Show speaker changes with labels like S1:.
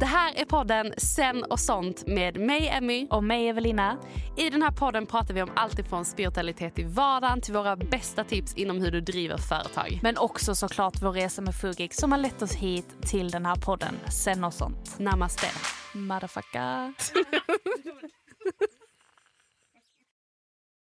S1: Det här är podden Sen och sånt med mig Emmy.
S2: Och mig Evelina.
S1: I den här podden pratar vi om allt ifrån spiritualitet i vardagen till våra bästa tips inom hur du driver företag.
S2: Men också såklart vår resa med Fugik som har lett oss hit till den här podden Sen och sånt.
S1: Namaste.
S2: Motherfucker.